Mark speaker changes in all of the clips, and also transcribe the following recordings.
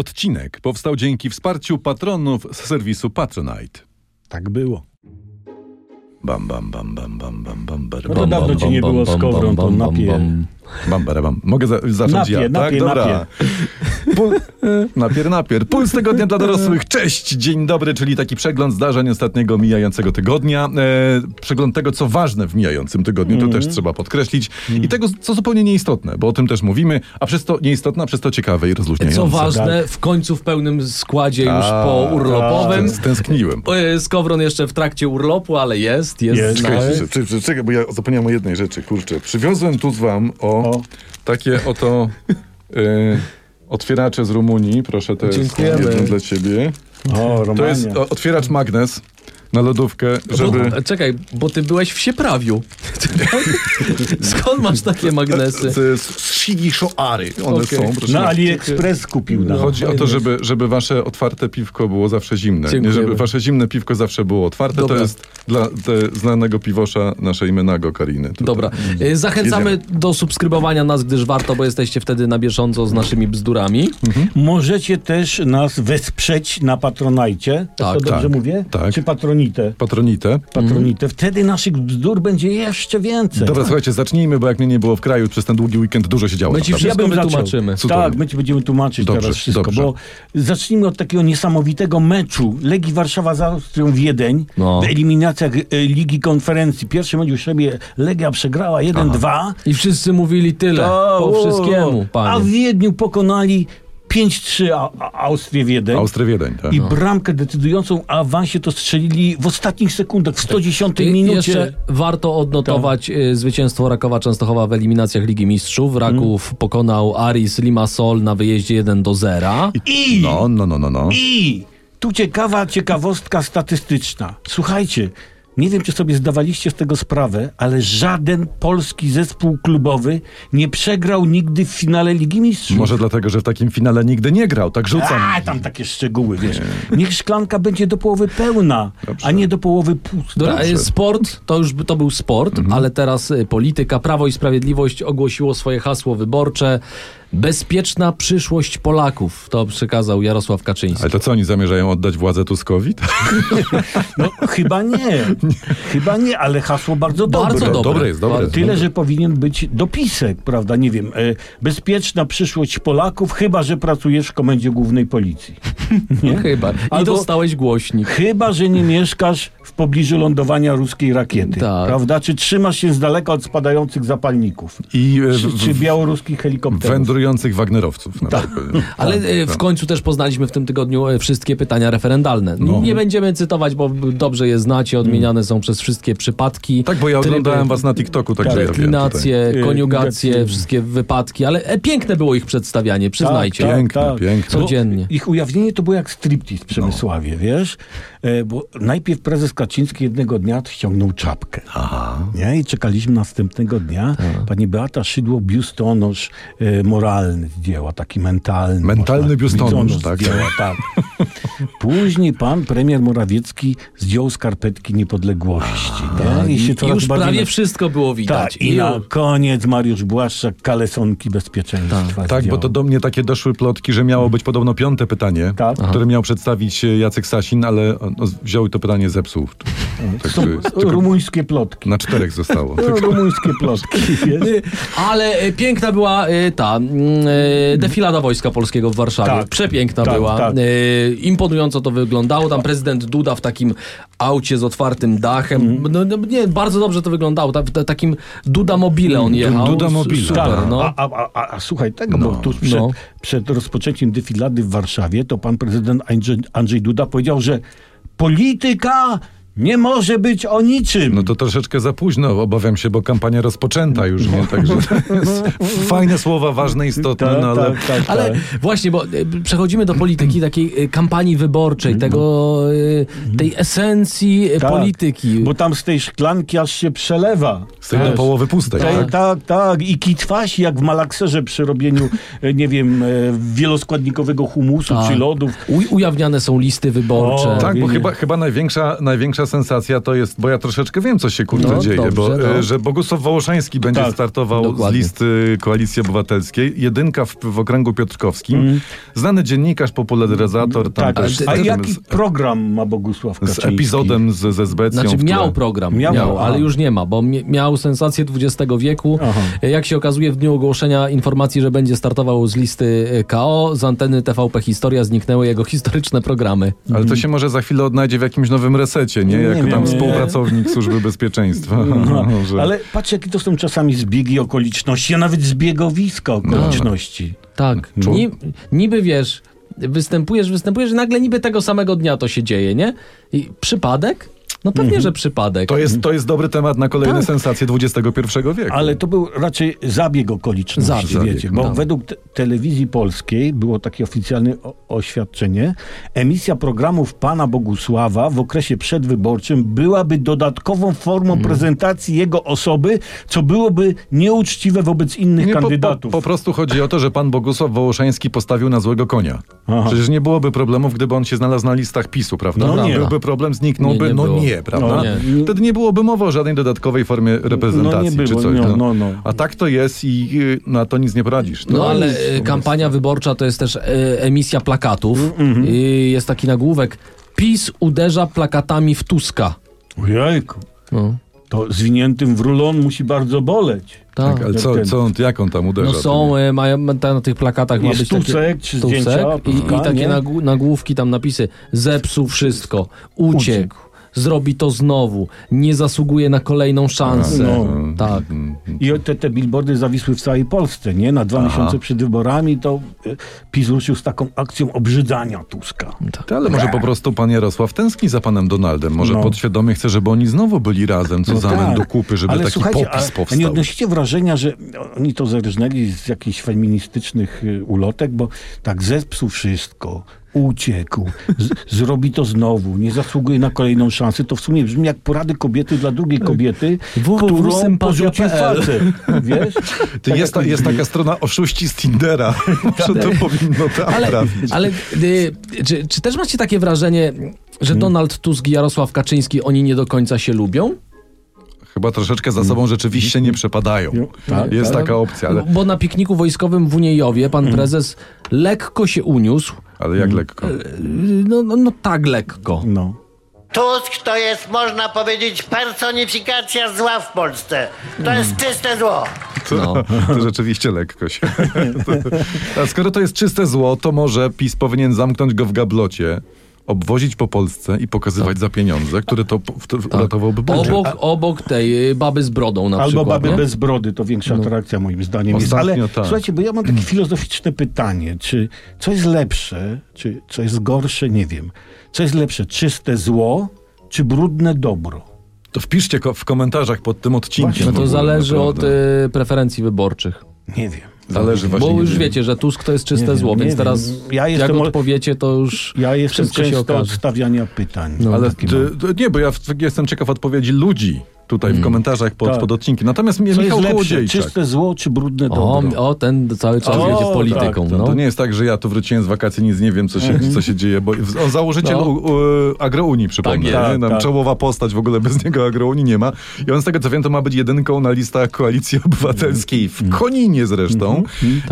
Speaker 1: Odcinek powstał dzięki wsparciu patronów z serwisu Patronite.
Speaker 2: Tak było.
Speaker 1: Bam, bam, bam, bam, bam, bam, bam, bar, bam,
Speaker 2: No to
Speaker 1: bam,
Speaker 2: dawno cię nie było z kowrą, to napie.
Speaker 1: bam, bar, bam. Mogę za zacząć
Speaker 2: Napie,
Speaker 1: ja, tak?
Speaker 2: napie,
Speaker 1: Dobra. Pul- e, napier, napier. Puls tygodnia dla dorosłych. Cześć, dzień dobry, czyli taki przegląd zdarzeń ostatniego mijającego tygodnia. E, przegląd tego, co ważne w mijającym tygodniu, to też trzeba podkreślić. I tego, co zupełnie nieistotne, bo o tym też mówimy, a przez to nieistotne, a przez to ciekawe i rozluźniające.
Speaker 3: Co ważne,
Speaker 2: tak.
Speaker 3: w końcu w pełnym składzie już po urlopowym.
Speaker 2: tak.
Speaker 1: Tęs- Tęskniłem.
Speaker 3: E, Skowron jeszcze w trakcie urlopu, ale jest, jest. No.
Speaker 2: Jest.
Speaker 3: na-
Speaker 1: Czekaj,
Speaker 2: Ale-
Speaker 1: czekaj, czekaj, czekaj, bo ja zapomniałem o jednej rzeczy, kurczę. Przywiozłem tu z wam o,
Speaker 2: O.
Speaker 1: takie oto y, otwieracze z Rumunii. Proszę, to jest
Speaker 3: Dziękujemy.
Speaker 1: jeden dla ciebie.
Speaker 2: O, Romania.
Speaker 1: To jest o, otwieracz magnes na lodówkę, żeby...
Speaker 3: Bo, e, czekaj, bo ty byłeś w Sieprawiu. Skąd masz takie magnesy?
Speaker 1: Z, z, z Shigishoary. One
Speaker 3: Okej.
Speaker 1: są, proszę.
Speaker 2: Na AliExpress kupił nam.
Speaker 1: Chodzi o to, żeby, żeby wasze otwarte piwko było zawsze zimne. Nie,
Speaker 3: Dziękujemy.
Speaker 1: żeby wasze zimne piwko zawsze było otwarte.
Speaker 3: Dobra.
Speaker 1: To jest dla te, znanego piwosza naszej Menago Kariny. Tutaj.
Speaker 3: Dobra, e, zachęcamy do subskrybowania nas, gdyż warto, bo jesteście wtedy na bieżąco z naszymi bzdurami.
Speaker 2: Możecie też nas wesprzeć na Patronajcie.
Speaker 3: Tak,
Speaker 2: Tak, to dobrze
Speaker 1: tak,
Speaker 2: mówię?
Speaker 1: tak.
Speaker 2: Czy Patronite?
Speaker 1: Patronite.
Speaker 2: Patronite. Wtedy naszych bzdur będzie jeszcze więcej.
Speaker 1: Dobra, słuchajcie, zacznijmy, bo jak mnie nie było w kraju przez ten długi weekend, dużo się
Speaker 2: No
Speaker 1: działo.
Speaker 3: My ci
Speaker 1: naprawdę.
Speaker 3: wszystko
Speaker 2: zaczął.
Speaker 3: wytłumaczymy.
Speaker 1: Cudownie.
Speaker 2: Tak, my ci będziemy tłumaczyć
Speaker 1: Dobrze,
Speaker 2: teraz wszystko,
Speaker 1: dobrze.
Speaker 2: bo zacznijmy od takiego niesamowitego meczu Legii Warszawa z Austrią Wiedeń
Speaker 3: No.
Speaker 2: w eliminacjach e, Ligi Konferencji. Pierwszy mecz u siebie Legia przegrała 1-2.
Speaker 3: I wszyscy mówili tyle
Speaker 2: O,
Speaker 3: po
Speaker 2: o,
Speaker 3: wszystkiemu,
Speaker 2: Tak, A w
Speaker 3: panie.
Speaker 2: Wiedniu pokonali 5-3 A- A- Austrię Wiedeń.
Speaker 1: Austria Wiedeń, tak.
Speaker 3: no.
Speaker 2: I bramkę decydującą o awansie to strzelili w ostatnich sekundach, w 110
Speaker 3: I
Speaker 2: minucie. Tak.
Speaker 3: jeszcze warto odnotować y, zwycięstwo Rakowa Częstochowa w eliminacjach Ligi Mistrzów. Raków
Speaker 2: Mhm.
Speaker 3: pokonał Aris Limassol na wyjeździe 1 do 0.
Speaker 2: I,
Speaker 1: No, no, no, no, no.
Speaker 2: i tu ciekawa ciekawostka statystyczna. Słuchajcie, nie wiem, czy sobie zdawaliście z tego sprawę, ale żaden polski zespół klubowy nie przegrał nigdy w finale Ligi Mistrzów.
Speaker 1: Może dlatego, że w takim finale nigdy nie grał, tak
Speaker 3: No.
Speaker 1: rzucam.
Speaker 2: A, tam takie szczegóły, wiesz. Niech szklanka będzie do połowy pełna, a nie do połowy pusta.
Speaker 3: Dobra, y, sport, to już by- to był sport,
Speaker 2: Mhm.
Speaker 3: ale teraz y, polityka. Prawo i Sprawiedliwość ogłosiło swoje hasło wyborcze. Bezpieczna przyszłość Polaków. To przekazał Jarosław Kaczyński.
Speaker 1: Ale to co, oni zamierzają oddać władzę Tuskowi? Tak.
Speaker 2: No, chyba nie. Chyba nie, ale hasło bardzo dobre.
Speaker 3: Bardzo dobre.
Speaker 1: dobre jest, dobre.
Speaker 3: Bardzo-
Speaker 2: Tyle, że powinien być dopisek, prawda? Nie wiem. E, bezpieczna przyszłość Polaków, chyba że pracujesz w komendzie głównej policji. Nie?
Speaker 3: Chyba. I
Speaker 2: Albo-
Speaker 3: dostałeś głośnik.
Speaker 2: Chyba, że nie mieszkasz w pobliżu lądowania ruskiej rakiety.
Speaker 3: Tak.
Speaker 2: Prawda? Czy trzymasz się z daleka od spadających zapalników?
Speaker 1: I e,
Speaker 2: Czy, Tak.
Speaker 1: w,
Speaker 2: czy białoruskich helikopterów?
Speaker 1: wędrujących Wagnerowców. Na przykład.
Speaker 3: Ale y,
Speaker 1: tak.
Speaker 3: w końcu też poznaliśmy w tym tygodniu y, wszystkie pytania referendalne. N-
Speaker 1: No.
Speaker 3: Nie będziemy cytować, bo b- dobrze je znacie, odmieniane są przez wszystkie przypadki.
Speaker 1: Tak, bo ja
Speaker 3: tryby,
Speaker 1: oglądałem was na TikToku, także ja wiem tutaj.
Speaker 3: Deklinacje,
Speaker 2: tutaj.
Speaker 3: koniugacje,
Speaker 2: Yy,
Speaker 3: wszystkie wypadki, ale e, piękne było ich przedstawianie, przyznajcie.
Speaker 2: Tak,
Speaker 1: Piękne,
Speaker 2: tak.
Speaker 1: piękne. No.
Speaker 2: Bo
Speaker 3: Codziennie.
Speaker 2: Ich ujawnienie to było jak striptease w Przemysławie, wiesz? E, bo najpierw prezes Kaczyński jednego dnia ściągnął czapkę. Nie? I czekaliśmy następnego dnia.
Speaker 1: Tak.
Speaker 2: Pani Beata Szydło biustonosz e, moralny zdjęła, taki mentalny.
Speaker 1: Mentalny
Speaker 2: można-
Speaker 1: biustonosz, tak.
Speaker 2: Zdjęła, tak. Później pan premier Morawiecki zdjął skarpetki niepodległości. nie?
Speaker 3: I,
Speaker 2: się
Speaker 3: I
Speaker 2: coraz
Speaker 3: już
Speaker 2: bardziej
Speaker 3: prawie
Speaker 2: na-
Speaker 3: wszystko było widać.
Speaker 2: tak, i na koniec Mariusz Błaszczak, kalesonki bezpieczeństwa.
Speaker 1: Tak, bo
Speaker 2: zdjął.
Speaker 1: to do mnie takie doszły plotki, że miało być podobno piąte pytanie,
Speaker 2: Tak.
Speaker 1: które miał przedstawić e, Jacek Sasin, ale on- no, wziął i to pytanie zepsuł.
Speaker 2: Są
Speaker 1: Także tylko
Speaker 2: rumuńskie plotki.
Speaker 1: na czterech zostało.
Speaker 2: No, Rumuńskie plotki. wiesz?
Speaker 3: Y, Ale y, piękna była y, ta y, defilada Wojska Polskiego w Warszawie.
Speaker 2: Tak.
Speaker 3: Przepiękna
Speaker 2: Tak,
Speaker 3: była.
Speaker 2: tak.
Speaker 3: Y, Imponująco to wyglądało. Tam prezydent Duda w takim aucie z otwartym dachem.
Speaker 2: Mhm.
Speaker 3: No, no, nie, bardzo dobrze to wyglądało. Ta, ta, takim Duda Mobile on jechał.
Speaker 1: Duda
Speaker 3: S-
Speaker 1: Mobile.
Speaker 3: Super,
Speaker 2: Mhm. Tak,
Speaker 3: no.
Speaker 2: a, a, a, a, a słuchaj tego, bo tuż przed,
Speaker 3: no.
Speaker 2: przed rozpoczęciem defilady w Warszawie to pan prezydent Andrzej, Andrzej Duda powiedział, że polityka nie może być o niczym.
Speaker 1: No to troszeczkę za późno, obawiam się, bo kampania rozpoczęta już, nie? Także to jest fajne słowa, ważne, istotne,
Speaker 2: Tak,
Speaker 1: no ale...
Speaker 2: tak, tak,
Speaker 3: Ale
Speaker 2: tak. Mhm.
Speaker 3: właśnie, bo y, przechodzimy do polityki, takiej y, kampanii wyborczej, tego, y, tej esencji y,
Speaker 2: Tak,
Speaker 3: polityki.
Speaker 2: Bo tam z tej szklanki aż się przelewa.
Speaker 1: Z tej do
Speaker 2: Wiesz?
Speaker 1: połowy pustej.
Speaker 2: Tak,
Speaker 1: Tak.
Speaker 2: tak, tak, I kitwasi jak w malakserze przy robieniu, e, nie wiem, e, wieloskładnikowego humusu
Speaker 3: Tak.
Speaker 2: czy lodów.
Speaker 3: U, ujawniane są listy wyborcze.
Speaker 2: O,
Speaker 1: Tak, bo
Speaker 2: Widzisz.
Speaker 1: chyba, chyba największa, największa największa sensacja to jest, bo ja troszeczkę wiem, co się kurde
Speaker 3: No,
Speaker 1: dzieje,
Speaker 3: dobrze,
Speaker 1: bo,
Speaker 3: no.
Speaker 1: e, że Bogusław Wołoszański będzie
Speaker 2: Tak,
Speaker 1: startował
Speaker 3: dokładnie.
Speaker 1: z listy Koalicji Obywatelskiej, jedynka w, w okręgu piotrkowskim, znany dziennikarz, popularyzator, tam
Speaker 2: Mhm. Tak,
Speaker 1: też
Speaker 2: a
Speaker 1: potem
Speaker 2: jaki
Speaker 1: z,
Speaker 2: program ma Bogusław
Speaker 1: z
Speaker 2: Kaczyński?
Speaker 1: epizodem z, ze Zbecją.
Speaker 3: Znaczy
Speaker 1: w tle.
Speaker 3: miał program,
Speaker 2: Miał,
Speaker 3: miał,
Speaker 2: aha.
Speaker 3: ale już nie ma, bo mi- miał sensację XX wieku.
Speaker 2: Aha.
Speaker 3: Jak się okazuje, w dniu ogłoszenia informacji, że będzie startował z listy e, KO, z anteny TVP Historia zniknęły jego historyczne programy.
Speaker 1: Ale to się może za chwilę odnajdzie w jakimś nowym resecie, nie?
Speaker 2: Mhm. Nie
Speaker 1: Jako
Speaker 2: wiem,
Speaker 1: tam
Speaker 2: nie.
Speaker 1: współpracownik Służby Bezpieczeństwa.
Speaker 2: No,
Speaker 1: Może.
Speaker 2: ale patrz, jakie to są czasami zbiegi okoliczności, a nawet zbiegowiska okoliczności.
Speaker 1: No.
Speaker 3: Tak.
Speaker 1: Czu-
Speaker 3: Ni, niby wiesz, występujesz, występujesz, i nagle niby tego samego dnia to się dzieje, nie? I przypadek? No pewnie, że przypadek.
Speaker 1: To jest, to jest dobry temat na kolejne
Speaker 3: Tak.
Speaker 1: sensacje XXI wieku.
Speaker 2: Ale to był raczej zabieg okoliczności,
Speaker 1: Zabieg,
Speaker 2: wiecie, bo
Speaker 1: no.
Speaker 2: według te telewizji polskiej było takie oficjalne o- oświadczenie, emisja programów pana Bogusława w okresie przedwyborczym byłaby dodatkową formą
Speaker 1: Mhm.
Speaker 2: prezentacji jego osoby, co byłoby nieuczciwe wobec innych
Speaker 1: Nie, po-
Speaker 2: kandydatów.
Speaker 1: Po, po prostu chodzi o to, że pan Bogusław Wołoszański postawił na złego konia.
Speaker 2: Aha.
Speaker 1: Przecież nie byłoby problemów, gdyby on się znalazł na listach PiSu, prawda?
Speaker 2: No nie.
Speaker 1: Byłby problem, zniknąłby.
Speaker 3: Nie, nie
Speaker 1: no
Speaker 3: było.
Speaker 1: nie, prawda?
Speaker 2: No nie. No
Speaker 1: Wtedy nie byłoby mowy o żadnej dodatkowej formie reprezentacji
Speaker 2: nie było,
Speaker 1: czy coś.
Speaker 2: no, no, no.
Speaker 1: A tak to jest i y, na to nic nie poradzisz. To tak.
Speaker 3: No ale
Speaker 1: jest-
Speaker 3: e, kampania wyborcza to jest też e, emisja plakatów. I jest taki nagłówek. PiS uderza plakatami w Tuska. No,
Speaker 2: Ojejku, to zwiniętym w rulon musi bardzo boleć.
Speaker 3: tak.
Speaker 1: Tak, ale co, co on, jak on tam uderza?
Speaker 3: No są, e, mają, ta, na tych plakatach ma
Speaker 2: Jest
Speaker 3: być
Speaker 2: tucek,
Speaker 3: takie,
Speaker 2: czy zdjęcia,
Speaker 3: i,
Speaker 2: puszka,
Speaker 3: i takie
Speaker 2: nie?
Speaker 3: nagł- nagłówki, tam napisy zepsuł wszystko, uciekł, zrobi to znowu, nie zasługuje na kolejną szansę.
Speaker 2: No.
Speaker 3: Tak.
Speaker 1: Mm.
Speaker 2: I te, te billboardy zawisły w całej Polsce, nie? Na dwa miesiące przed wyborami to y, PiS ruszył z taką akcją obrzydzania Tuska.
Speaker 1: Ty, ale No może po prostu pan Jarosław tęskni za panem Donaldem. Może
Speaker 2: No.
Speaker 1: podświadomie chce, żeby oni znowu byli razem, co
Speaker 2: No
Speaker 1: za
Speaker 2: tak.
Speaker 1: do kupy, żeby
Speaker 2: Ale
Speaker 1: taki
Speaker 2: słuchajcie,
Speaker 1: popis
Speaker 2: a
Speaker 1: powstał.
Speaker 2: Nie odnosicie wrażenia, że oni to zerżnęli z jakichś feministycznych y, ulotek, bo tak zepsuł wszystko, uciekł, z, zrobi to znowu, nie zasługuje na kolejną szansę. To w sumie brzmi jak porady kobiety dla drugiej kobiety, którą porzucił
Speaker 3: www.sympatia.pl.
Speaker 2: facet, wiesz?
Speaker 1: Ty,
Speaker 2: Tak
Speaker 1: jest, ta,
Speaker 2: jak- Tak.
Speaker 1: jest taka strona oszuści z Tindera. Może to powinno tam
Speaker 3: Ale,
Speaker 1: trafić.
Speaker 3: ale y, czy, czy też macie takie wrażenie, że
Speaker 2: Hmm.
Speaker 3: Donald Tusk i Jarosław Kaczyński, oni nie do końca się lubią?
Speaker 1: Chyba troszeczkę za sobą rzeczywiście nie przepadają.
Speaker 2: Tak,
Speaker 1: jest
Speaker 3: tak.
Speaker 1: taka opcja, ale,
Speaker 3: Bo na pikniku wojskowym w Uniejowie
Speaker 2: Hmm.
Speaker 3: pan prezes lekko się uniósł.
Speaker 1: ale jak lekko.
Speaker 3: y, No, no, no tak lekko.
Speaker 2: No.
Speaker 4: Tusk to jest, można powiedzieć, personifikacja zła w Polsce. To jest czyste zło.
Speaker 1: To, to rzeczywiście lekko się. To, a skoro to jest czyste zło, to może PiS powinien zamknąć go w gablocie, obwozić po Polsce i
Speaker 2: Tak.
Speaker 1: pokazywać za pieniądze, które to, po- w- to uratowałoby budżet.
Speaker 3: Obok, obok tej y, baby z brodą na
Speaker 2: Albo
Speaker 3: przykład.
Speaker 2: baby
Speaker 3: nie? No.
Speaker 2: bez brody, to większa atrakcja moim zdaniem
Speaker 1: Ostatnio
Speaker 2: jest. Ale
Speaker 1: tak.
Speaker 2: słuchajcie, bo ja mam
Speaker 3: Mm.
Speaker 2: takie filozoficzne pytanie, czy co jest lepsze, czy co jest gorsze, nie wiem. Co jest lepsze, czyste zło, czy brudne dobro?
Speaker 1: To wpiszcie ko- w komentarzach pod tym odcinkiem.
Speaker 3: No
Speaker 1: w ogóle,
Speaker 3: to zależy od
Speaker 1: naprawdę.
Speaker 3: y, preferencji wyborczych.
Speaker 2: Nie wiem.
Speaker 1: Zależy właśnie.
Speaker 3: Bo
Speaker 1: nie
Speaker 3: już
Speaker 1: wiem.
Speaker 3: wiecie, że Tusk to jest czyste
Speaker 2: Nie
Speaker 3: zło,
Speaker 2: wiem,
Speaker 3: więc
Speaker 2: nie
Speaker 3: teraz
Speaker 2: wiem. Ja
Speaker 3: jak
Speaker 2: jestem o-
Speaker 3: odpowiecie, to już
Speaker 2: Ja jestem
Speaker 3: wszystko się
Speaker 2: często od
Speaker 3: okaże. No,
Speaker 2: stawiania pytań.
Speaker 1: Ale
Speaker 2: Takie
Speaker 1: ty,
Speaker 2: mam.
Speaker 1: ty- nie, bo ja w- jestem ciekaw odpowiedzi ludzi tutaj
Speaker 3: Mm.
Speaker 1: w komentarzach pod,
Speaker 2: Tak.
Speaker 1: pod odcinkiem. Natomiast mnie
Speaker 2: Co
Speaker 1: Michał
Speaker 2: jest lepsze,
Speaker 1: Kołodziejczak.
Speaker 2: czyste zło, czy brudne
Speaker 3: O,
Speaker 2: dobro?
Speaker 3: o, ten cały czas
Speaker 2: O,
Speaker 3: będzie
Speaker 2: tak,
Speaker 3: polityką.
Speaker 1: To,
Speaker 3: no.
Speaker 1: to nie jest tak, że ja tu wróciłem z wakacji, nic nie wiem, co się, co się dzieje, bo w- o, założyciel
Speaker 3: No.
Speaker 1: u, u, Agrounii, przypomnę,
Speaker 2: Tak
Speaker 1: nie?
Speaker 2: jest.
Speaker 1: Nam
Speaker 2: Tak.
Speaker 1: czołowa postać, w ogóle bez niego Agrounii nie ma. I on z tego co wiem, to ma być jedynką na listach Koalicji Obywatelskiej, w Koninie zresztą.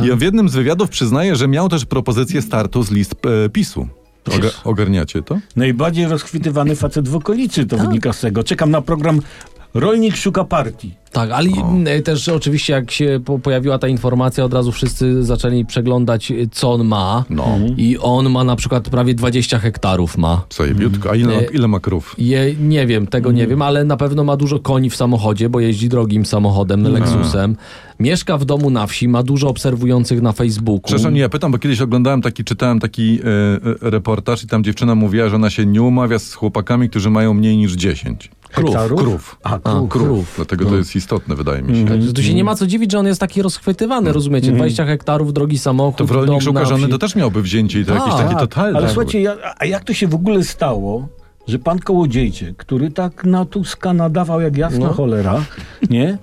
Speaker 1: I on w jednym z wywiadów przyznaje, że miał też propozycję startu z list e, PiSu. Oga, ogarniacie to?
Speaker 2: Najbardziej rozchwytywany facet w okolicy,
Speaker 3: Tak.
Speaker 2: to wynika z tego. Czekam na program Rolnik szuka partii.
Speaker 3: Tak, ale y, też oczywiście jak się po pojawiła ta informacja, od razu wszyscy zaczęli przeglądać, y, co on ma.
Speaker 1: No.
Speaker 3: I on ma na przykład prawie 20 hektarów ma.
Speaker 1: Zajebiutko. A ile,
Speaker 3: Nie.
Speaker 1: ile ma krów?
Speaker 3: Je, nie wiem, tego
Speaker 1: Mm.
Speaker 3: nie wiem, ale na pewno ma dużo koni w samochodzie, bo jeździ drogim samochodem,
Speaker 1: No.
Speaker 3: Lexusem. Mieszka w domu na wsi, ma dużo obserwujących na Facebooku.
Speaker 1: Przepraszam, nie, ja pytam, bo kiedyś oglądałem taki, czytałem taki e, e, reportaż i tam dziewczyna mówiła, że ona się nie umawia z chłopakami, którzy mają mniej niż 10.
Speaker 2: Krów. Hektarów?
Speaker 1: Krów.
Speaker 2: A,
Speaker 3: A,
Speaker 2: krów.
Speaker 3: krów.
Speaker 1: Dlatego
Speaker 2: No.
Speaker 1: to jest istotne, wydaje mi się.
Speaker 2: Mhm.
Speaker 3: Także tu się nie ma co dziwić, że on jest taki rozchwytywany, rozumiecie? 20 hektarów, drogi samochód,
Speaker 1: Mm. To w
Speaker 3: dom
Speaker 1: rolnik
Speaker 3: na
Speaker 1: szuka żony,
Speaker 3: wsi.
Speaker 1: to też miałby wzięcie i to jakieś
Speaker 3: Tak,
Speaker 1: takie totalne.
Speaker 2: Ale słuchajcie, ja, a jak to się w ogóle stało,
Speaker 3: No.
Speaker 2: że pan Kołodziejczyk, który tak na Tuska nadawał jak jasna cholera, nie?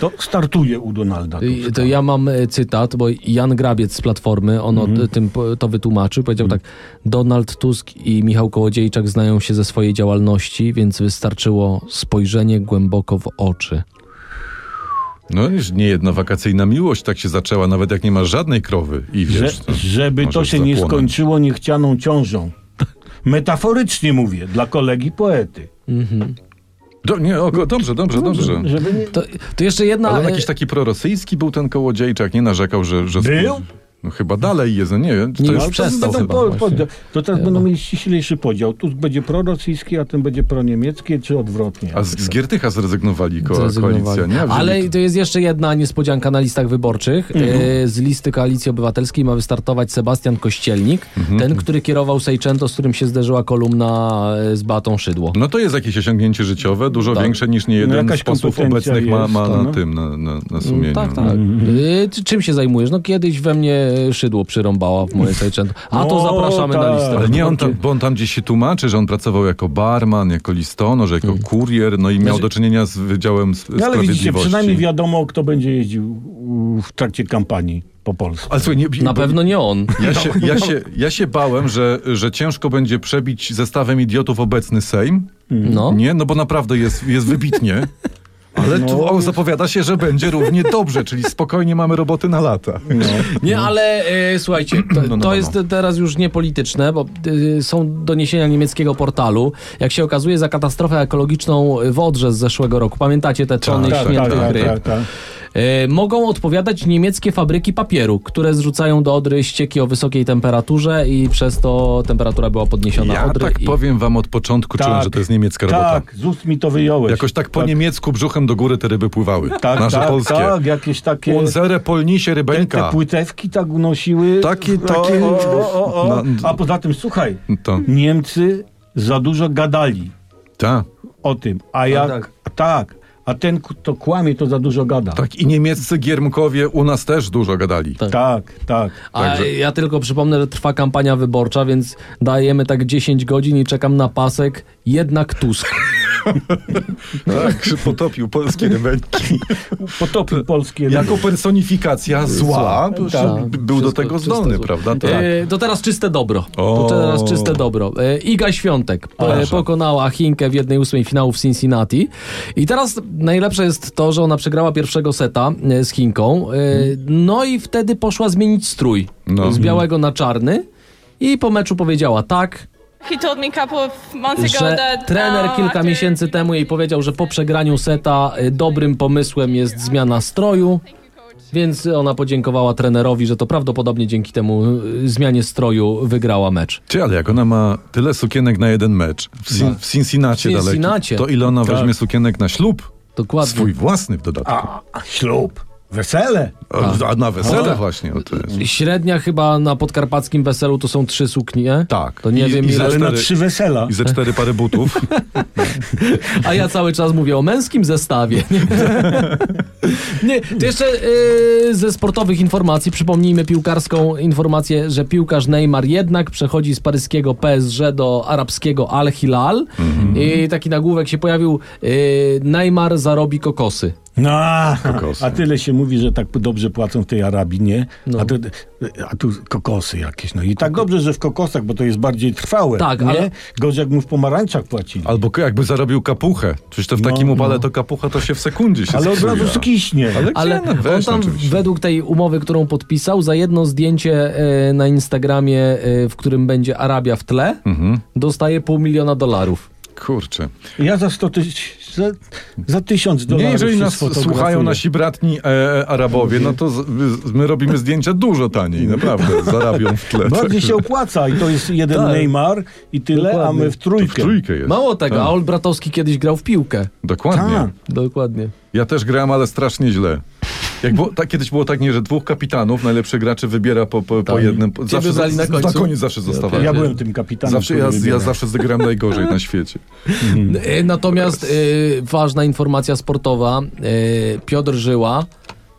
Speaker 2: To startuje u Donalda.
Speaker 3: I-
Speaker 2: Tuska.
Speaker 3: To ja mam e, cytat, bo Jan Grabiec z Platformy, on
Speaker 1: Mhm.
Speaker 3: o tym po- to wytłumaczył, powiedział tak, Donald Tusk i Michał Kołodziejczak znają się ze swojej działalności, więc wystarczyło spojrzenie głęboko w oczy.
Speaker 1: No już nie jedna wakacyjna miłość tak się zaczęła, nawet jak nie ma żadnej krowy i
Speaker 2: Że,
Speaker 1: wiesz... no,
Speaker 2: żeby to
Speaker 1: możesz
Speaker 2: się nie
Speaker 1: zapłonąć.
Speaker 2: skończyło niechcianą ciążą. Metaforycznie mówię, dla kolegi poety.
Speaker 1: Do, nie, o, go- dobrze,
Speaker 2: No,
Speaker 1: dobrze, dobrze.
Speaker 2: Żeby nie...
Speaker 3: To, to jeszcze jedna...
Speaker 1: Ale on
Speaker 3: e,
Speaker 1: jakiś taki prorosyjski był ten Kołodziejczak, nie narzekał, że... że
Speaker 2: Był?
Speaker 1: No chyba dalej jest, no nie wiem. czy
Speaker 3: Nie,
Speaker 1: to
Speaker 3: już
Speaker 1: jest-
Speaker 3: przestał
Speaker 2: Będą
Speaker 3: chyba
Speaker 2: po, po,
Speaker 3: właśnie. no.
Speaker 2: to teraz będą mieli ściślejszy podział. Tu będzie prorosyjski, a ten będzie proniemiecki, czy odwrotnie.
Speaker 1: A z, z Giertycha zrezygnowali, ko-
Speaker 3: Zrezygnowali.
Speaker 1: koalicja, nie? Wzięli-
Speaker 3: Ale to jest jeszcze jedna niespodzianka na listach wyborczych. E, Z listy Koalicji Obywatelskiej ma wystartować Sebastian Kościelnik,
Speaker 1: Mhm.
Speaker 3: ten, który kierował Sejczęto, z którym się zderzyła kolumna e, z Batą Szydło.
Speaker 1: No to jest jakieś osiągnięcie życiowe, dużo
Speaker 3: Tak.
Speaker 1: więsze niż niejeden
Speaker 2: No
Speaker 1: jeden
Speaker 2: jakaś
Speaker 1: z posłów
Speaker 2: kompetencja
Speaker 1: obecnych ma,
Speaker 2: jest,
Speaker 1: ma
Speaker 2: to
Speaker 1: na
Speaker 2: no.
Speaker 1: tym, na, na, na sumieniu.
Speaker 3: Tak, tak. Y, ty czym się zajmujesz? No kiedyś we mnie szydło przyrąbała w moje sejczęto. A to
Speaker 2: No,
Speaker 3: zapraszamy na
Speaker 2: tak.
Speaker 3: listę.
Speaker 1: Ale nie, on tam, bo on tam gdzieś się tłumaczy, że on pracował jako barman, jako listonosz, jako kurier, no i miał
Speaker 3: Znaczy-
Speaker 1: do czynienia z Wydziałem s-
Speaker 2: No, ale
Speaker 1: Sprawiedliwości.
Speaker 2: widzicie, przynajmniej wiadomo, kto będzie jeździł u- w trakcie kampanii po Polsce.
Speaker 1: Ale słuchaj, nie,
Speaker 3: Na
Speaker 1: bo-
Speaker 3: pewno nie on.
Speaker 1: Ja się, ja, się, ja się bałem, że, że ciężko będzie przebić zestawem idiotów obecny Sejm.
Speaker 3: No.
Speaker 1: Nie, no bo naprawdę jest, jest wybitnie. Ale tu o, zapowiada się, że będzie równie dobrze, czyli spokojnie mamy roboty na lata.
Speaker 3: Nie, ale e, słuchajcie, to,
Speaker 1: no,
Speaker 3: to
Speaker 1: no.
Speaker 3: jest teraz już niepolityczne, bo e, są doniesienia niemieckiego portalu. Jak się okazuje, za katastrofę ekologiczną w Odrze z zeszłego roku, pamiętacie te tony
Speaker 1: Tak,
Speaker 3: śmietnych
Speaker 1: tak, tak,
Speaker 3: ryb? E, mogą odpowiadać niemieckie fabryki papieru, które zrzucają do Odry ścieki o wysokiej temperaturze i przez to temperatura była podniesiona
Speaker 1: Ja
Speaker 3: Odry.
Speaker 1: tak
Speaker 3: i...
Speaker 1: powiem wam od początku, czułem,
Speaker 2: Tak.
Speaker 1: że to jest niemiecka robota.
Speaker 2: Tak, z ust mi to wyjąłeś.
Speaker 1: Jakoś tak po niemiecku brzuchem do góry te ryby pływały.
Speaker 2: tak,
Speaker 1: Nasze
Speaker 2: tak,
Speaker 1: polskie.
Speaker 2: tak, jakieś takie...
Speaker 1: Unzere polnisie
Speaker 2: Te, te
Speaker 1: rybeńka.
Speaker 2: płytewki tak unosiły.
Speaker 1: Takie- takie-
Speaker 2: O, o, o, o.
Speaker 1: Na-
Speaker 2: A poza tym, słuchaj,
Speaker 1: To,
Speaker 2: Niemcy za dużo gadali
Speaker 1: ta,
Speaker 2: o tym. A jak... tak. A ten, kto kłamie, to za dużo gada.
Speaker 1: tak. I niemieccy giermkowie u nas też dużo gadali.
Speaker 3: Tak.
Speaker 2: tak. tak.
Speaker 3: A
Speaker 1: Także-
Speaker 3: ja tylko przypomnę, że trwa kampania wyborcza, więc dajemy tak 10 godzin i czekam na pasek. Jednak Tusk.
Speaker 1: Tak, potopił polskie rybeńki.
Speaker 2: Potopił polskie...
Speaker 1: Jako personifikacja zła, bo
Speaker 3: Tak.
Speaker 1: b- był do
Speaker 3: Wszystko
Speaker 1: tego
Speaker 3: czyste
Speaker 1: zdolny,
Speaker 3: zło.
Speaker 1: prawda? Tak.
Speaker 3: E, to teraz czyste dobro.
Speaker 1: O.
Speaker 3: To teraz czyste dobro. E, Iga Świątek po,
Speaker 1: Proszę.
Speaker 3: pokonała Chinkę w 1-8 finału w Cincinnati. I teraz najlepsze jest to, że ona przegrała pierwszego seta e, z Chinką. E, no i wtedy poszła zmienić strój
Speaker 1: Mhm. No.
Speaker 3: z białego na czarny. I po meczu powiedziała tak,
Speaker 5: He told me a couple of months ago
Speaker 3: że
Speaker 5: that
Speaker 3: trener
Speaker 5: um,
Speaker 3: kilka
Speaker 5: after-
Speaker 3: miesięcy temu jej powiedział, że po przegraniu seta y, dobrym pomysłem jest zmiana stroju. Więc ona podziękowała trenerowi, że to prawdopodobnie dzięki temu y, zmianie stroju wygrała mecz.
Speaker 1: Czy, ale jak ona ma tyle sukienek na jeden mecz w, Cin- w Cincinnati,
Speaker 3: W
Speaker 1: daleki,
Speaker 3: Cincinnacie.
Speaker 1: to ile ona
Speaker 2: Tak.
Speaker 1: weźmie sukienek na ślub?
Speaker 3: Dokładnie.
Speaker 1: Swój własny w dodatku.
Speaker 2: A, a ślub. Wesele.
Speaker 1: A, a na wesele
Speaker 2: Tak.
Speaker 1: właśnie. O, to jest.
Speaker 3: Średnia chyba na podkarpackim weselu to są trzy suknie.
Speaker 1: Tak.
Speaker 3: To nie
Speaker 1: I-
Speaker 3: wiem
Speaker 1: i
Speaker 3: ile.
Speaker 1: za-
Speaker 2: Ale na
Speaker 1: cztery-
Speaker 2: trzy wesela.
Speaker 1: I ze cztery pary butów.
Speaker 3: A ja cały czas mówię o męskim zestawie. Nie, to jeszcze y, ze sportowych informacji przypomnijmy piłkarską informację, że piłkarz Neymar jednak przechodzi z paryskiego PSG do arabskiego Al Hilal.
Speaker 1: Mhm.
Speaker 3: I taki nagłówek się pojawił: y, Neymar zarobi kokosy.
Speaker 2: No, a-
Speaker 1: Kokosy.
Speaker 2: a tyle się mówi, że tak dobrze płacą w tej Arabii, nie?
Speaker 3: No.
Speaker 2: A, tu, a tu kokosy jakieś. No i tak dobrze, że w kokosach, bo to jest bardziej trwałe.
Speaker 3: Tak,
Speaker 2: nie?
Speaker 3: ale-
Speaker 2: Gorzej jak mu w pomarańczach płacili.
Speaker 1: Albo k- jakby zarobił kapuchę. Przecież to w
Speaker 2: No,
Speaker 1: takim
Speaker 2: no.
Speaker 1: upale to kapucha to się w sekundzie się
Speaker 2: Ale od
Speaker 1: spsuje.
Speaker 2: razu skiśnie.
Speaker 1: Ale,
Speaker 3: Ale
Speaker 1: gdzie? No, weź,
Speaker 3: on tam
Speaker 1: oczywiście.
Speaker 3: według tej umowy, którą podpisał, za jedno zdjęcie y, na Instagramie, y, w którym będzie Arabia w tle,
Speaker 1: Mhm.
Speaker 3: dostaje pół miliona dolarów.
Speaker 1: Kurczę.
Speaker 2: Ja za 100 tysięcy, za, za tysiąc dolarów
Speaker 1: Nie, jeżeli
Speaker 2: się
Speaker 1: nas
Speaker 2: sfotografuję.
Speaker 1: słuchają nasi bratni e, e, Arabowie, no to z, z- my robimy zdjęcia dużo taniej, naprawdę. Zarabią w tle.
Speaker 2: Bardziej
Speaker 1: Także-
Speaker 2: się opłaca i to jest jeden
Speaker 3: Tak.
Speaker 2: Neymar i tyle,
Speaker 3: Dokładnie.
Speaker 2: a my w
Speaker 1: to
Speaker 2: trójkę.
Speaker 1: w trójkę jest.
Speaker 3: Mało tego,
Speaker 1: Tak.
Speaker 3: a Ol Bratowski kiedyś grał w piłkę.
Speaker 1: Dokładnie.
Speaker 2: Tak.
Speaker 3: Dokładnie.
Speaker 1: Ja też grałem, ale strasznie źle. Jak było, tak, kiedyś było tak, nie, że dwóch kapitanów, najlepszych graczy wybiera po, po, po
Speaker 3: Tak.
Speaker 1: jednym.
Speaker 3: Ciebie
Speaker 1: Zawsze,
Speaker 3: wybrali na końcu?
Speaker 1: na koniec zawsze zostawałem.
Speaker 2: Ja byłem tym kapitanem.
Speaker 1: zawsze,
Speaker 2: który
Speaker 1: ja, ja
Speaker 2: wybiera.
Speaker 1: zawsze zagrałem najgorzej na świecie. Hmm.
Speaker 3: E, Natomiast e, ważna informacja sportowa. E, Piotr Żyła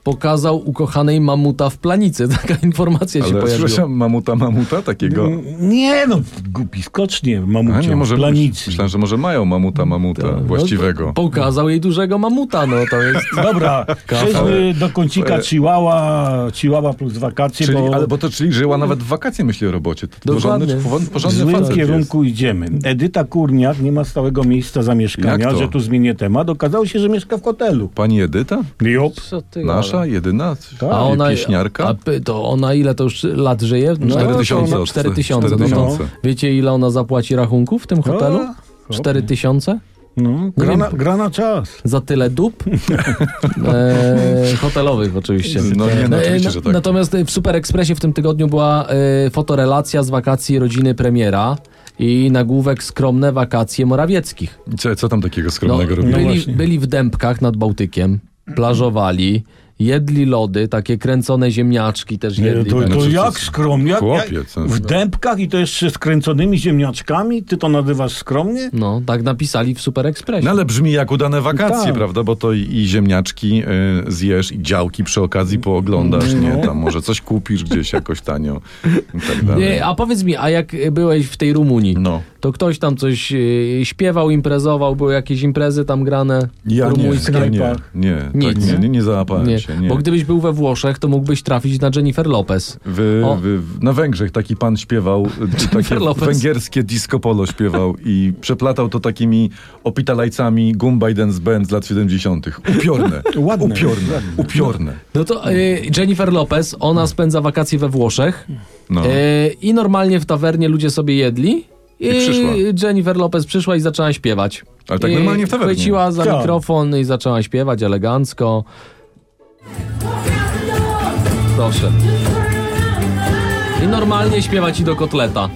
Speaker 3: pokazał ukochanej mamuta w planicy. Taka informacja się
Speaker 1: Ale
Speaker 3: pojawiła.
Speaker 1: słyszałem mamuta, mamuta takiego.
Speaker 2: Nie no, głupi skocznie,
Speaker 1: A nie,
Speaker 2: mamucie,
Speaker 1: może
Speaker 2: planicy.
Speaker 1: myślałem, że może mają mamuta, mamuta
Speaker 2: Tak. No,
Speaker 1: właściwego.
Speaker 3: No, Pokazał jej dużego mamuta, no to jest...
Speaker 2: Dobra, przejdźmy do kącika Chihuahua, Chihuahua plus wakacje,
Speaker 1: E. Czyli,
Speaker 2: bo
Speaker 1: ale bo to czyli żyła nawet w wakacje, myśli o robocie. To
Speaker 3: Dokładnie.
Speaker 1: porządny, porządny,
Speaker 2: w złym
Speaker 1: facet jest.
Speaker 2: kierunku idziemy. Edyta Kurniak nie ma stałego miejsca
Speaker 1: Jak
Speaker 2: zamieszkania,
Speaker 1: to?
Speaker 2: że tu zmienię temat. Okazało się, że mieszka w hotelu.
Speaker 1: Pani Edyta?
Speaker 2: Jop.
Speaker 3: Co ty
Speaker 1: Nasza,
Speaker 3: gadasz?
Speaker 1: jedyna?
Speaker 3: No,
Speaker 2: Tak.
Speaker 3: A ona,
Speaker 1: Pieśniarka?
Speaker 3: A py- to ona ile to już lat żyje? No,
Speaker 1: Cztery tysiące. od-
Speaker 3: 4 tysiące.
Speaker 1: cztery
Speaker 3: no to-
Speaker 1: tysiące.
Speaker 3: Wiecie ile ona zapłaci rachunków w tym hotelu?
Speaker 2: A,
Speaker 3: Cztery tysiące?
Speaker 2: No, gra, na, gra na czas.
Speaker 3: Za tyle dup? e, hotelowych oczywiście.
Speaker 1: No nie, no
Speaker 3: E,
Speaker 1: oczywiście,
Speaker 3: na-
Speaker 1: że tak.
Speaker 3: Natomiast e, w Super Expressie w tym tygodniu była e, fotorelacja z wakacji rodziny premiera i nagłówek skromne wakacje Morawieckich.
Speaker 1: Co, co tam takiego
Speaker 3: No,
Speaker 1: skromnego robiła?
Speaker 3: byli,
Speaker 2: właśnie.
Speaker 3: byli w Dębkach nad Bałtykiem, plażowali, jedli lody, takie kręcone ziemniaczki też
Speaker 2: Nie, no
Speaker 3: jedli.
Speaker 2: to,
Speaker 3: tak.
Speaker 2: to
Speaker 1: Znaczy,
Speaker 2: jak
Speaker 1: to-
Speaker 2: skromnie, jak, jak
Speaker 1: Chłopiec, no.
Speaker 2: w dębkach i to jeszcze skręconymi ziemniaczkami? Ty to nazywasz skromnie?
Speaker 3: No, tak napisali w Super Expressie.
Speaker 1: No ale brzmi jak udane wakacje,
Speaker 2: Tak.
Speaker 1: prawda? Bo to i, i ziemniaczki y, zjesz, i działki przy okazji
Speaker 2: No.
Speaker 1: pooglądasz, nie? Tam może coś kupisz gdzieś jakoś tanio i tak dalej.
Speaker 3: Nie, a powiedz mi, a jak y, byłeś w tej Rumunii,
Speaker 1: No.
Speaker 3: to ktoś tam coś y, śpiewał, imprezował, były jakieś imprezy tam grane
Speaker 1: Ja nie,
Speaker 3: rumuńskie?
Speaker 1: nie, nie,
Speaker 2: knajpach.
Speaker 1: nie, tak,
Speaker 3: Nic.
Speaker 1: nie, nie, nie załapałem
Speaker 3: Nie,
Speaker 1: się. Nie.
Speaker 3: Bo gdybyś był we Włoszech, to mógłbyś trafić na Jennifer Lopez.
Speaker 1: W,
Speaker 3: O.
Speaker 1: w, w, na Węgrzech taki pan śpiewał, y, takie
Speaker 3: Lopez.
Speaker 1: węgierskie disco polo śpiewał i przeplatał to takimi opitalajcami Gumba i Dance Band z lat 70. Upiorne,
Speaker 2: Ładne.
Speaker 1: upiorne, upiorne.
Speaker 3: No to y, Jennifer Lopez, ona spędza wakacje we Włoszech
Speaker 1: No.
Speaker 3: y, i normalnie w tawernie ludzie sobie jedli. I,
Speaker 1: przyszła.
Speaker 3: Jennifer Lopez przyszła i zaczęła śpiewać.
Speaker 1: Ale tak
Speaker 3: I
Speaker 1: normalnie w tawernie.
Speaker 3: Chwyciła za
Speaker 2: Tak.
Speaker 3: mikrofon i zaczęła śpiewać elegancko. Proszę. I normalnie śpiewać i do kotleta.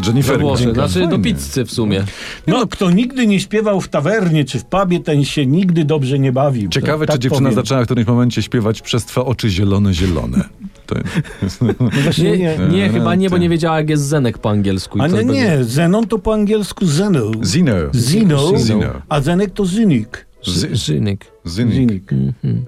Speaker 3: We
Speaker 1: Jennifer
Speaker 3: Włoszech,
Speaker 1: Dziękuję.
Speaker 3: znaczy do
Speaker 1: Fajnie.
Speaker 3: pizzy w sumie.
Speaker 2: No, kto nigdy nie śpiewał w tawernie czy w pubie, ten się nigdy dobrze nie bawił.
Speaker 1: Ciekawe,
Speaker 2: Tak
Speaker 1: czy dziewczyna
Speaker 2: powiem.
Speaker 1: zaczęła w którymś momencie śpiewać przez twe oczy zielone, zielone. To jest...
Speaker 2: Właśnie
Speaker 3: Nie,
Speaker 2: nie.
Speaker 3: nie, chyba nie, bo nie wiedziała jak jest zenek po angielsku. i
Speaker 2: Ale
Speaker 3: to
Speaker 2: nie,
Speaker 3: jakby-
Speaker 2: Zenon to po angielsku Zeno.
Speaker 1: Zino.
Speaker 2: Zino,
Speaker 1: Zino.
Speaker 2: a Zenek to Zynik.
Speaker 1: Zy-
Speaker 3: Ży- Żynik.
Speaker 1: Zynik.
Speaker 2: Zynik.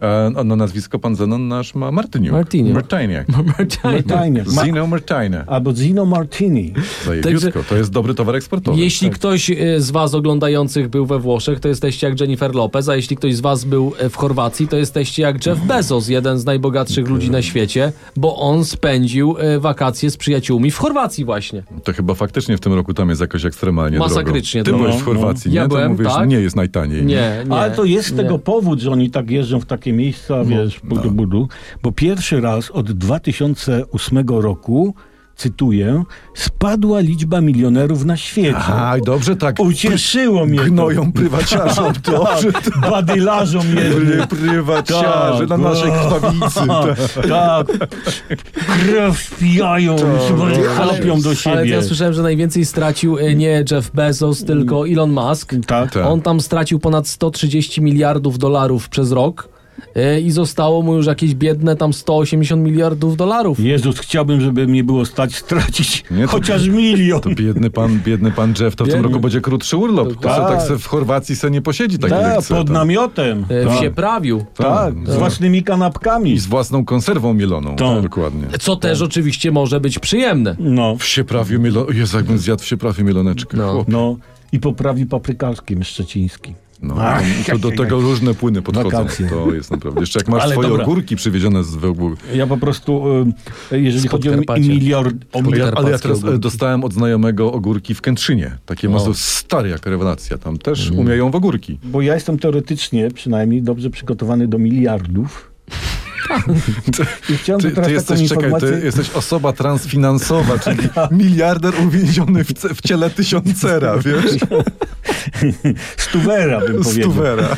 Speaker 1: E, no, no nazwisko pan Zenon nasz ma Martyniuk.
Speaker 3: Martyniuk.
Speaker 1: Martyniak.
Speaker 2: No Martiniak. Ma-
Speaker 1: Zino Martynia.
Speaker 2: Albo Zino Martini.
Speaker 1: Zajebiutko. To jest dobry towar eksportowy.
Speaker 3: Jeśli
Speaker 2: tak.
Speaker 3: ktoś e, z was oglądających był we Włoszech, to jesteście jak Jennifer Lopez, a jeśli ktoś z was był e, w Chorwacji, to jesteście jak Jeff Bezos, jeden z najbogatszych ludzi na świecie, bo on spędził e, wakacje z przyjaciółmi w Chorwacji właśnie.
Speaker 1: To chyba faktycznie w tym roku tam jest jakoś ekstremalnie
Speaker 3: Masakrycznie
Speaker 1: drogo. Ty
Speaker 3: drogo.
Speaker 1: byłeś w Chorwacji,
Speaker 3: No.
Speaker 1: nie?
Speaker 3: Ja
Speaker 1: to
Speaker 3: byłem,
Speaker 1: mówisz,
Speaker 3: tak.
Speaker 1: nie jest najtaniej.
Speaker 3: Nie, nie.
Speaker 2: Ale to jest z
Speaker 3: nie.
Speaker 2: tego powód, że oni tak jeżdżą w takie
Speaker 1: No,
Speaker 2: miejsca, wiesz, budu, budu, bo pierwszy raz od 2008 roku, cytuję, spadła liczba milionerów na świecie.
Speaker 1: Aha, i dobrze tak.
Speaker 2: Ucieszyło mnie to. Tak.
Speaker 1: Gnoją prywaciarzom to, że to
Speaker 2: Badylarzom jednym.
Speaker 1: byli prywaciarze na
Speaker 2: Tak.
Speaker 1: naszej krwawicy. Tak.
Speaker 2: Tak. Krew wpijają,
Speaker 1: ale-
Speaker 2: chapią do siebie.
Speaker 3: Ale to ja słyszałem, że najwięcej stracił e, nie Jeff Bezos, tylko Elon Musk.
Speaker 2: Mm. Tak.
Speaker 1: Tak.
Speaker 3: On tam stracił ponad 130 miliardów dolarów przez rok e, i zostało mu już jakieś biedne tam 180 miliardów dolarów.
Speaker 2: Jezus, chciałbym, żeby mnie było stać stracić
Speaker 1: Nie, to-
Speaker 2: chociaż milion.
Speaker 1: To biedny pan, biedny pan Jeff, to w tym
Speaker 3: Biedny.
Speaker 1: roku będzie krótszy urlop. To se
Speaker 2: Tak.
Speaker 1: tak se w Chorwacji se nie posiedzi tak ile
Speaker 2: Tak,
Speaker 1: chce.
Speaker 2: pod
Speaker 1: tam.
Speaker 2: namiotem.
Speaker 3: E,
Speaker 2: Tak.
Speaker 3: Wsie prawił.
Speaker 2: Tak, z własnymi kanapkami.
Speaker 1: I z własną konserwą mieloną.
Speaker 2: Tak.
Speaker 1: Dokładnie.
Speaker 3: Co też oczywiście może być przyjemne.
Speaker 2: No,
Speaker 1: Wsie prawie mielone. Jezu, jakbym zjadł wsie prawie mieloneczkę.
Speaker 3: No.
Speaker 1: No.
Speaker 2: no i poprawi paprykarskim szczecińskim.
Speaker 1: No,
Speaker 2: Ach,
Speaker 1: to do tego różne płyny podchodzą.
Speaker 2: Wakacje.
Speaker 1: To jest naprawdę. Jeszcze jak masz
Speaker 2: Ale
Speaker 1: swoje
Speaker 2: dobra.
Speaker 1: ogórki przywiezione z Wełbu.
Speaker 2: Ja po prostu, y, jeżeli
Speaker 3: Z
Speaker 2: chodzi o
Speaker 3: Podkarpacia.
Speaker 2: miliard, o miliard
Speaker 1: Ale ja
Speaker 3: Karpackie
Speaker 1: teraz e,
Speaker 3: ogórki.
Speaker 1: dostałem od znajomego ogórki w Kętrzynie. Takie mazo stare jak rewelacja. Tam też umieją w ogórki.
Speaker 2: bo ja jestem teoretycznie przynajmniej dobrze przygotowany do miliardów. I chciałem
Speaker 1: Ty, ty
Speaker 2: No teraz taką
Speaker 1: jesteś, czekaj,
Speaker 2: informację...
Speaker 1: ty jesteś osoba transfinansowa, czyli miliarder uwięziony w, ce- w ciele tysiącera, wiesz?
Speaker 2: Stuwera bym powiedział.
Speaker 1: Stuwera.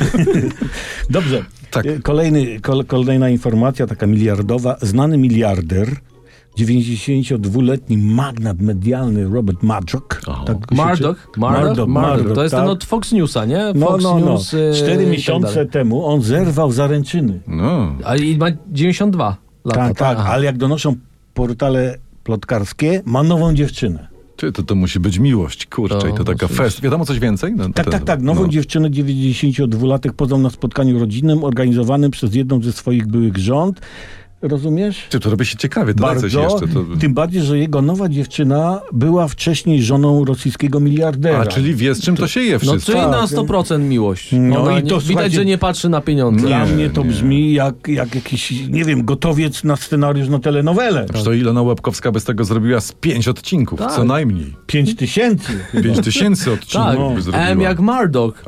Speaker 2: Dobrze.
Speaker 1: Tak.
Speaker 2: Y, Kolejny, kol, kolejna informacja, taka miliardowa. Znany miliarder, 92-letni magnat medialny Robert Murdoch. Tak się
Speaker 3: Murdoch?
Speaker 2: czy- Murdoch, Murdoch,
Speaker 3: To jest ten
Speaker 2: tak.
Speaker 3: od Fox Newsa, nie?
Speaker 2: No,
Speaker 3: Fox
Speaker 2: no, no.
Speaker 3: News, e, i
Speaker 2: Cztery
Speaker 3: tak
Speaker 2: miesiące
Speaker 3: dalej.
Speaker 2: temu on zerwał zaręczyny.
Speaker 1: No.
Speaker 3: A i ma 92 lata.
Speaker 2: Tak, tak,
Speaker 3: Aha.
Speaker 2: ale jak donoszą portale plotkarskie, ma nową dziewczynę.
Speaker 1: Ty, to, to musi być miłość, kurczę,
Speaker 3: To
Speaker 1: i to taka
Speaker 3: musi
Speaker 1: fest. Wiadomo coś więcej? No,
Speaker 2: Tak,
Speaker 1: ten-
Speaker 2: tak, tak. Nową dziewczynę 92-latek poznał na spotkaniu rodzinnym organizowanym przez jedną ze swoich byłych rząd. Rozumiesz?
Speaker 1: Ty, to robi się ciekawie, to daj coś jeszcze. To...
Speaker 2: Tym bardziej, że jego nowa dziewczyna była wcześniej żoną rosyjskiego miliardera.
Speaker 1: A, czyli wie, z czym to się je
Speaker 3: No
Speaker 1: wszystko.
Speaker 3: czyli
Speaker 2: Tak,
Speaker 3: na
Speaker 2: więc-
Speaker 3: 100% miłość.
Speaker 2: No
Speaker 3: Ona
Speaker 2: i
Speaker 3: nie-
Speaker 2: to,
Speaker 3: widać,
Speaker 2: słuchajcie-
Speaker 3: że nie patrzy na pieniądze.
Speaker 2: Dla
Speaker 1: Nie,
Speaker 2: mnie to
Speaker 1: nie.
Speaker 2: brzmi jak, jak jakiś, nie wiem, gotowiec na scenariusz na telenowelę.
Speaker 1: Przecież to Ilona Łapkowska bez tego zrobiła z pięć odcinków,
Speaker 3: Tak. No.
Speaker 1: co najmniej.
Speaker 2: Pięć tysięcy.
Speaker 1: Pięć tysięcy odcinków
Speaker 3: Tak,
Speaker 1: by zrobiła.
Speaker 3: M jak Mardok.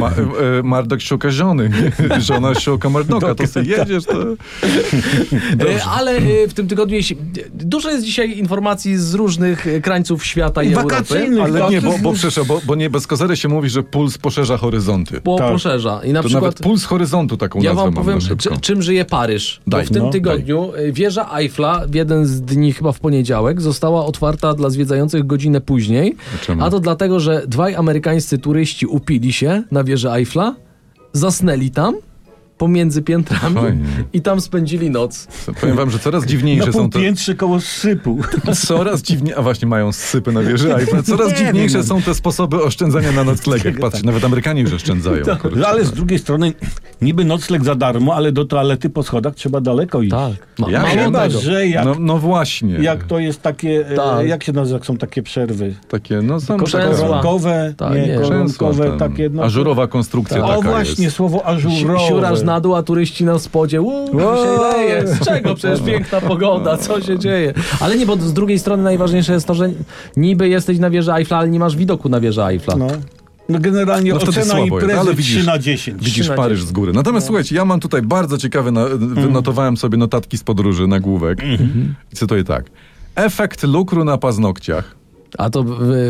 Speaker 1: Ma, e, Mardok szuka żony, żona szuka Mardoka, to sobie
Speaker 3: tak.
Speaker 1: jedziesz, to...
Speaker 3: E, Ale e, w tym tygodniu jeśli, dużo jest dzisiaj informacji z różnych e, krańców świata i Europy.
Speaker 2: Wakacyjnych,
Speaker 1: Ale
Speaker 2: tak,
Speaker 1: nie, bo,
Speaker 2: już-
Speaker 1: bo, przecież, bo, bo nie bez kozery się mówi, że puls poszerza horyzonty.
Speaker 3: Po,
Speaker 2: Tak.
Speaker 3: Poszerza. I na
Speaker 1: To
Speaker 3: przykład
Speaker 1: nawet puls horyzontu taką
Speaker 3: ja
Speaker 1: nazwę
Speaker 3: wam
Speaker 1: mam
Speaker 3: powiem,
Speaker 1: na szybko.
Speaker 3: czy, czym żyje Paryż. Bo
Speaker 1: Daj,
Speaker 3: w tym
Speaker 2: no,
Speaker 3: tygodniu e, wieża Eiffla, w jeden z dni chyba w poniedziałek, została otwarta dla zwiedzających godzinę później.
Speaker 1: Czemu?
Speaker 3: A to dlatego, że dwaj amerykańscy turyści upili się na wieży Eiffla, zasnęli tam pomiędzy piętrami
Speaker 1: Fajnie.
Speaker 3: i tam spędzili noc.
Speaker 1: Powiem wam, że coraz dziwniejsze
Speaker 2: Na
Speaker 1: są te...
Speaker 2: półpiętrze No koło sypu.
Speaker 1: Coraz dziwnie, a właśnie mają sypy na wieży Eiffla. Coraz
Speaker 2: Nie
Speaker 1: dziwniejsze
Speaker 2: wiem.
Speaker 1: są te sposoby oszczędzania na
Speaker 3: Tak,
Speaker 1: noclegach. Patrzcie, nawet Amerykanie już oszczędzają. No kurczę.
Speaker 2: Ale z drugiej strony, niby nocleg za darmo, ale do toalety po schodach trzeba daleko iść.
Speaker 3: Tak. Ma,
Speaker 1: Ja
Speaker 3: mało
Speaker 1: wiem.
Speaker 2: Chyba,
Speaker 3: tego.
Speaker 2: że jak,
Speaker 1: No, no właśnie.
Speaker 2: jak to jest takie, e,
Speaker 3: Tak.
Speaker 2: jak się nazywa, jak są takie przerwy?
Speaker 1: Takie, no sam
Speaker 3: Korzęsła.
Speaker 1: taka-
Speaker 2: Koronkowe,
Speaker 3: Tak,
Speaker 2: nie,
Speaker 3: nie.
Speaker 1: korzęsła,
Speaker 2: koronkowe,
Speaker 1: tam,
Speaker 2: takie no.
Speaker 1: Ażurowa konstrukcja taka
Speaker 2: O właśnie,
Speaker 1: jest.
Speaker 2: słowo ażurowe.
Speaker 3: Si- Siuraż na dół, a turyści na spodzie. Uuu, się leje. Z czego? Przecież piękna pogoda, co się dzieje? Ale nie, bo z drugiej strony najważniejsze jest to, że niby jesteś na wieży Eiffla, ale nie masz widoku na wieży Eiffla.
Speaker 2: No. No generalnie
Speaker 1: No wtedy
Speaker 2: ocena
Speaker 1: słabo jest,
Speaker 2: imprezy
Speaker 1: ale
Speaker 2: 3
Speaker 1: widzisz-
Speaker 2: na 10.
Speaker 1: Widzisz
Speaker 3: 13.
Speaker 1: Paryż z góry. Natomiast
Speaker 2: No.
Speaker 1: słuchajcie, ja mam tutaj bardzo ciekawe, na, wynotowałem sobie notatki z podróży na główek.
Speaker 2: Mhm.
Speaker 1: I cytuję tak. Efekt lukru na paznokciach.
Speaker 3: A to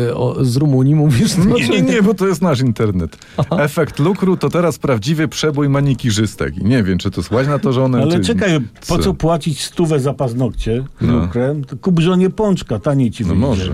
Speaker 3: y, o, z Rumunii mówisz?
Speaker 1: No
Speaker 2: No
Speaker 1: Nie, nie, nie, bo to jest nasz internet. Efekt lukru to teraz prawdziwy przebój manikirzystek. I nie wiem, czy to słuchać na to żonę,
Speaker 2: Ale
Speaker 1: czy...
Speaker 2: czekaj, po co
Speaker 1: no co?
Speaker 2: płacić stówę za paznokcie
Speaker 1: No.
Speaker 2: lukrem? To kup żonie pączka, taniej ci
Speaker 1: No
Speaker 2: wyjdzie.
Speaker 1: może.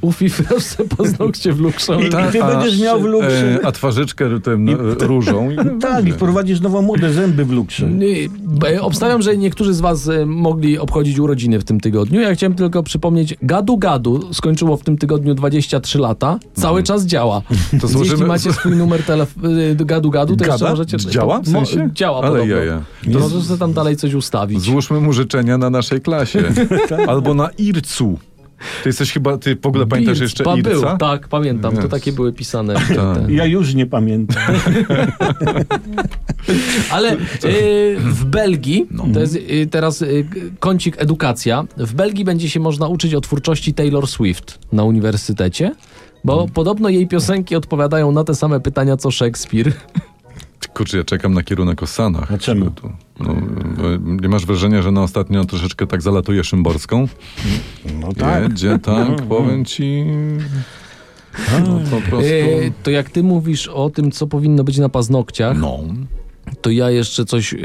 Speaker 3: Ufi, wreszcie paznokcie w lukrze.
Speaker 2: I, i ty
Speaker 1: a-
Speaker 2: będziesz miał w lukrzy.
Speaker 1: E, a twarzyczkę tym, e, różą. I,
Speaker 2: tak, i wprowadzisz nowo młode zęby w lukrzy.
Speaker 3: Y, b- Obstawiam, że niektórzy z Was y, mogli obchodzić urodziny w tym tygodniu. Ja chciałem tylko przypomnieć, Gadu Gadu skończyło w tym tygodniu 23 lata. Cały czas działa. To
Speaker 1: złożymy-
Speaker 3: Jeśli macie swój numer telefonu Gadu Gadu, to jeszcze
Speaker 1: Gada?
Speaker 3: możecie...
Speaker 1: Działa w
Speaker 3: mo-
Speaker 1: sensie?
Speaker 3: Działa
Speaker 1: Ale
Speaker 3: podobno.
Speaker 1: jaja.
Speaker 3: To możesz sobie tam dalej coś ustawić.
Speaker 1: Złóżmy mu życzenia na naszej klasie. Albo na Ircu. Ty jesteś chyba, ty w ogóle pamiętasz
Speaker 3: Birc,
Speaker 1: jeszcze
Speaker 3: pa- był,
Speaker 1: Irca?
Speaker 3: Tak, pamiętam. To
Speaker 1: Yes.
Speaker 3: takie były pisane.
Speaker 1: Tak.
Speaker 2: Ja już nie pamiętam.
Speaker 3: Ale y, w Belgii,
Speaker 1: No.
Speaker 3: to jest y, teraz y, kącik edukacja, w Belgii będzie się można uczyć o twórczości Taylor Swift na uniwersytecie, bo
Speaker 1: Mm.
Speaker 3: podobno jej piosenki odpowiadają na te same pytania co Szekspir.
Speaker 1: Kurczę, ja czekam na kierunek o Sanach.
Speaker 2: A czemu?
Speaker 1: Tu- No, e, nie masz wrażenia, że na ostatnio troszeczkę tak zalatuje Szymborską?
Speaker 2: No
Speaker 1: Jedzie, tak, powiem ci... No, po prostu...
Speaker 3: Y, to jak ty mówisz o tym, co powinno być na paznokciach,
Speaker 1: No.
Speaker 3: to ja jeszcze coś y, y,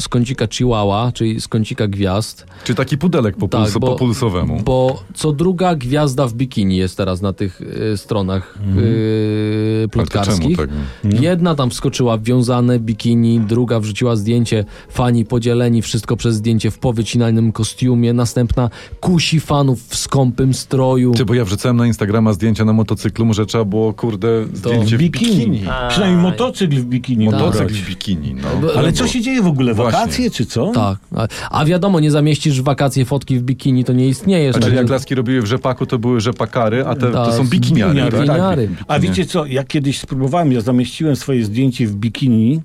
Speaker 3: z kącika Chihuahua, czyli z kącika gwiazd,
Speaker 1: Czy taki pudelek po,
Speaker 3: Tak,
Speaker 1: pulso,
Speaker 3: bo-
Speaker 1: po pulsowemu?
Speaker 3: bo co druga gwiazda w bikini jest teraz na tych y, stronach y,
Speaker 1: Mhm. Ale to
Speaker 3: plotkarskich.
Speaker 1: czemu tak?
Speaker 3: Jedna tam wskoczyła w wiązane bikini, druga wrzuciła zdjęcie fani podzieleni, wszystko przez zdjęcie w powycinanym kostiumie, następna kusi fanów w skąpym stroju.
Speaker 1: Ty, bo ja wrzucałem na Instagrama zdjęcia na motocyklu, może trzeba było, kurde, zdjęcie w bikini.
Speaker 2: Przynajmniej motocykl w bikini.
Speaker 1: Motocykl
Speaker 2: ubrać.
Speaker 1: w bikini, no.
Speaker 2: Ale co się dzieje w ogóle?
Speaker 1: Właśnie.
Speaker 2: Wakacje czy co?
Speaker 3: Tak. A, a wiadomo, nie zamieścisz w wakacje fotki w bikini, to nie istniejesz.
Speaker 1: Znaczy, jak
Speaker 3: Także-
Speaker 1: laski robiły w rzepaku, to były rzepakary, a te to
Speaker 3: Tak,
Speaker 1: są bikiniary.
Speaker 2: bikiniary,
Speaker 1: tak?
Speaker 3: bikiniary.
Speaker 2: A wiecie co, ja kiedyś spróbowałem, ja zamieściłem swoje zdjęcie w bikini,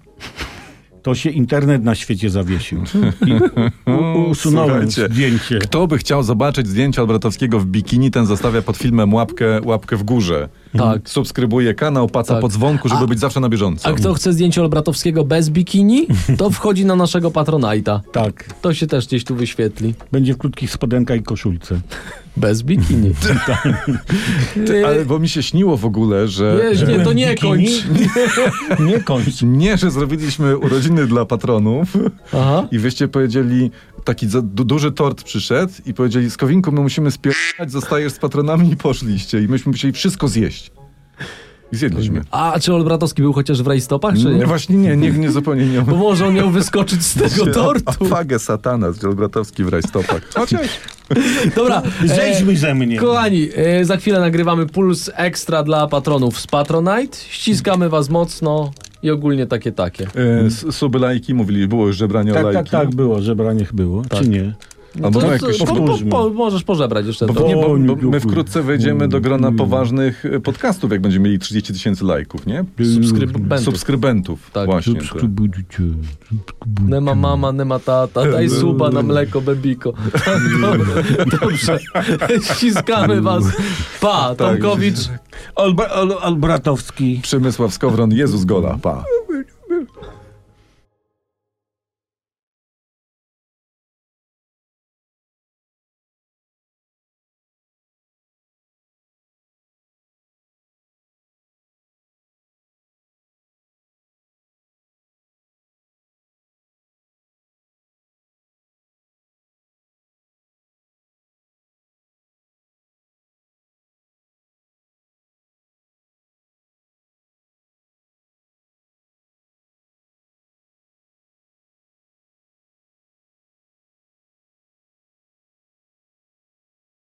Speaker 2: to się internet na świecie zawiesił. I u- usunąłem
Speaker 1: Słuchajcie,
Speaker 2: zdjęcie.
Speaker 1: Kto by chciał zobaczyć zdjęcia Albratowskiego w bikini, ten zostawia pod filmem łapkę, łapkę w górze.
Speaker 3: Tak.
Speaker 1: Subskrybuje kanał, paca
Speaker 3: Tak.
Speaker 1: po dzwonku, żeby
Speaker 3: A-
Speaker 1: być zawsze na bieżąco.
Speaker 3: A kto chce zdjęcie Olbratowskiego bez bikini, to wchodzi na naszego Patronite'a.
Speaker 2: Tak,
Speaker 3: To się też gdzieś tu wyświetli.
Speaker 2: będzie w krótkich spodenkach i koszulce.
Speaker 3: Bez bikini. Ty,
Speaker 1: Ale bo mi się śniło w ogóle, że...
Speaker 3: wiesz, nie, to nie
Speaker 2: Bikini?
Speaker 3: kończ.
Speaker 2: Nie kończ.
Speaker 1: Nie, że zrobiliśmy urodziny dla patronów
Speaker 3: Aha.
Speaker 1: i wyście powiedzieli, taki za, du, duży tort przyszedł i powiedzieli, Skowinku, my musimy spierać, zostajesz z patronami i poszliście. I myśmy musieli wszystko zjeść. I zjedliśmy.
Speaker 3: A czy Olbratowski był chociaż w rajstopach, czy nie?
Speaker 1: Nie, właśnie nie, nie, nie zupełnie nie.
Speaker 3: Bo może on miał wyskoczyć z tego tortu.
Speaker 1: Fagę satana, Olbratowski w rajstopach. Chociaż...
Speaker 3: Dobra. e,
Speaker 2: Zejdźmy ze mnie.
Speaker 3: Kochani, e, za chwilę nagrywamy puls ekstra dla patronów z Patronite. Ściskamy was mocno i ogólnie takie takie.
Speaker 1: E, s- suby lajki mówili, było już żebranie o
Speaker 2: Tak, tak,
Speaker 1: lajki.
Speaker 2: tak było, żebranie było, czy nie?
Speaker 1: Albo no,
Speaker 3: To- to-
Speaker 1: jakoś
Speaker 3: po, po,
Speaker 2: powtórzmy.
Speaker 3: po, możesz pożebrać jeszcze to.
Speaker 1: Bo, nie, bo,
Speaker 2: Oj,
Speaker 1: bo my
Speaker 2: dziękuję.
Speaker 1: wkrótce wejdziemy do grona
Speaker 2: Mm.
Speaker 1: poważnych e, podcastów, jak będziemy mieli 30 tysięcy lajków, nie?
Speaker 3: Subskrybentów.
Speaker 1: Subskrybentów.
Speaker 3: Tak.
Speaker 1: właśnie.
Speaker 2: Subskrybujcie, subskrybujcie.
Speaker 3: Nie ma mama, nie ma tata, daj suba na mleko, bebiko. Dobrze, ściskamy was. Pa, Tomkowicz.
Speaker 2: Olbra- Ol- Olbratowski.
Speaker 1: Przemysław Skowron, Jezus Gola, pa.